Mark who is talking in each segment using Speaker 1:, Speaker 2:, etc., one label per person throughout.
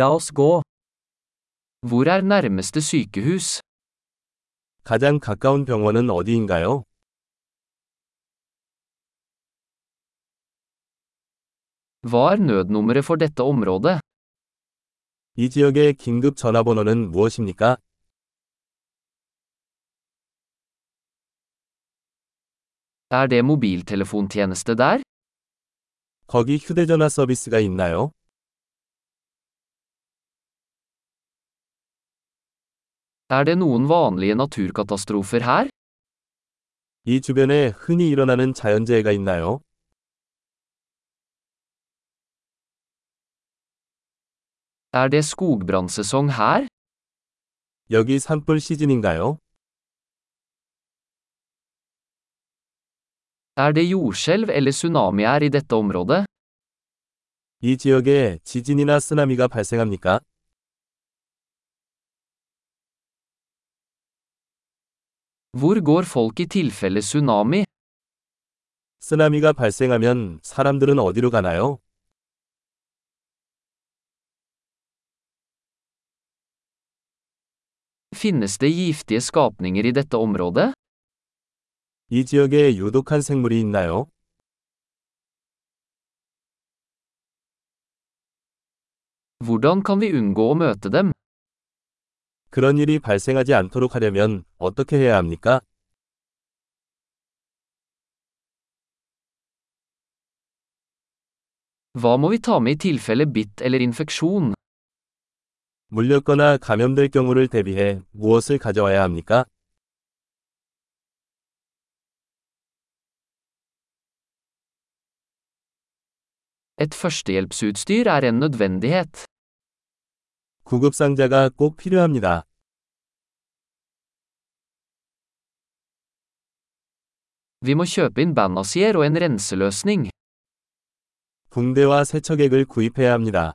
Speaker 1: La oss gå. Hvor er nærmeste sykehus?
Speaker 2: 가장 가까운 병원은 어디인가요?
Speaker 1: Hva er nødnummeret for dette området?
Speaker 2: 이 지역의 긴급 전화번호는 무엇입니까?
Speaker 1: Er det mobiltelefontjeneste der?
Speaker 2: 거기 휴대전화 서비스가 있나요?
Speaker 1: Er det noen vanlige naturkatastrofer her?
Speaker 2: 이 주변에 흔히 일어나는 자연재해가 있나요?
Speaker 1: Er det skogbrannsesong her?
Speaker 2: 여기 산불 시즌인가요?
Speaker 1: Er det jordskjelv eller tsunami her i dette området?
Speaker 2: 이 지역에 지진이나 쓰나미가 발생합니까?
Speaker 1: Hvor går folk i tilfelle tsunami?
Speaker 2: 쓰나미가 발생하면 사람들은 어디로 가나요?
Speaker 1: Finnes det giftige skapninger i dette området?
Speaker 2: 이 지역에 유독한 생물이 있나요?
Speaker 1: Hvordan kan vi unngå å møte dem?
Speaker 2: 그런 일이 발생하지 않도록 하려면 어떻게 해야 합니까?
Speaker 1: Hva må vi ta med i tilfelle bitt eller infeksjon?
Speaker 2: 물렸거나 감염될 경우를 대비해 무엇을 가져와야 합니까?
Speaker 1: Et førstehjelpsutstyr er en nødvendighet.
Speaker 2: 구급 상자가 꼭 필요합니다.
Speaker 1: Vi må kjøpe inn bandasier og en renseløsning.
Speaker 2: 붕대와 세척액을 구입해야 합니다.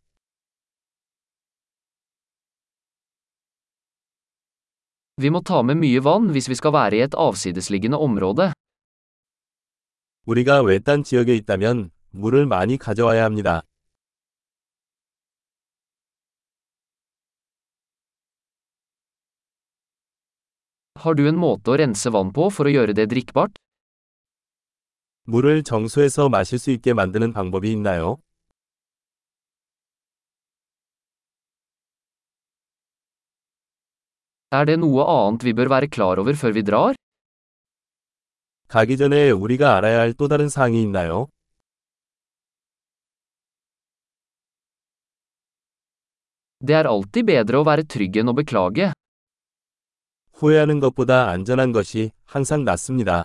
Speaker 1: Vi må ta med mye vann hvis vi skal være i et avsidesliggende område.
Speaker 2: 우리가 외딴 지역에 있다면 물을 많이 가져와야 합니다.
Speaker 1: Har du en måte å rense vann på for å gjøre det drikkbart?
Speaker 2: 물을 정수해서 마실 수 있게 만드는 방법이 있나요?
Speaker 1: Er det noe annet vi bør være klar over før vi drar?
Speaker 2: 가기 전에 우리가 알아야 할 또 다른 사항이 있나요?
Speaker 1: Det er alltid bedre å være trygg enn å beklage.
Speaker 2: 후회하는 것보다 안전한 것이 항상 낫습니다.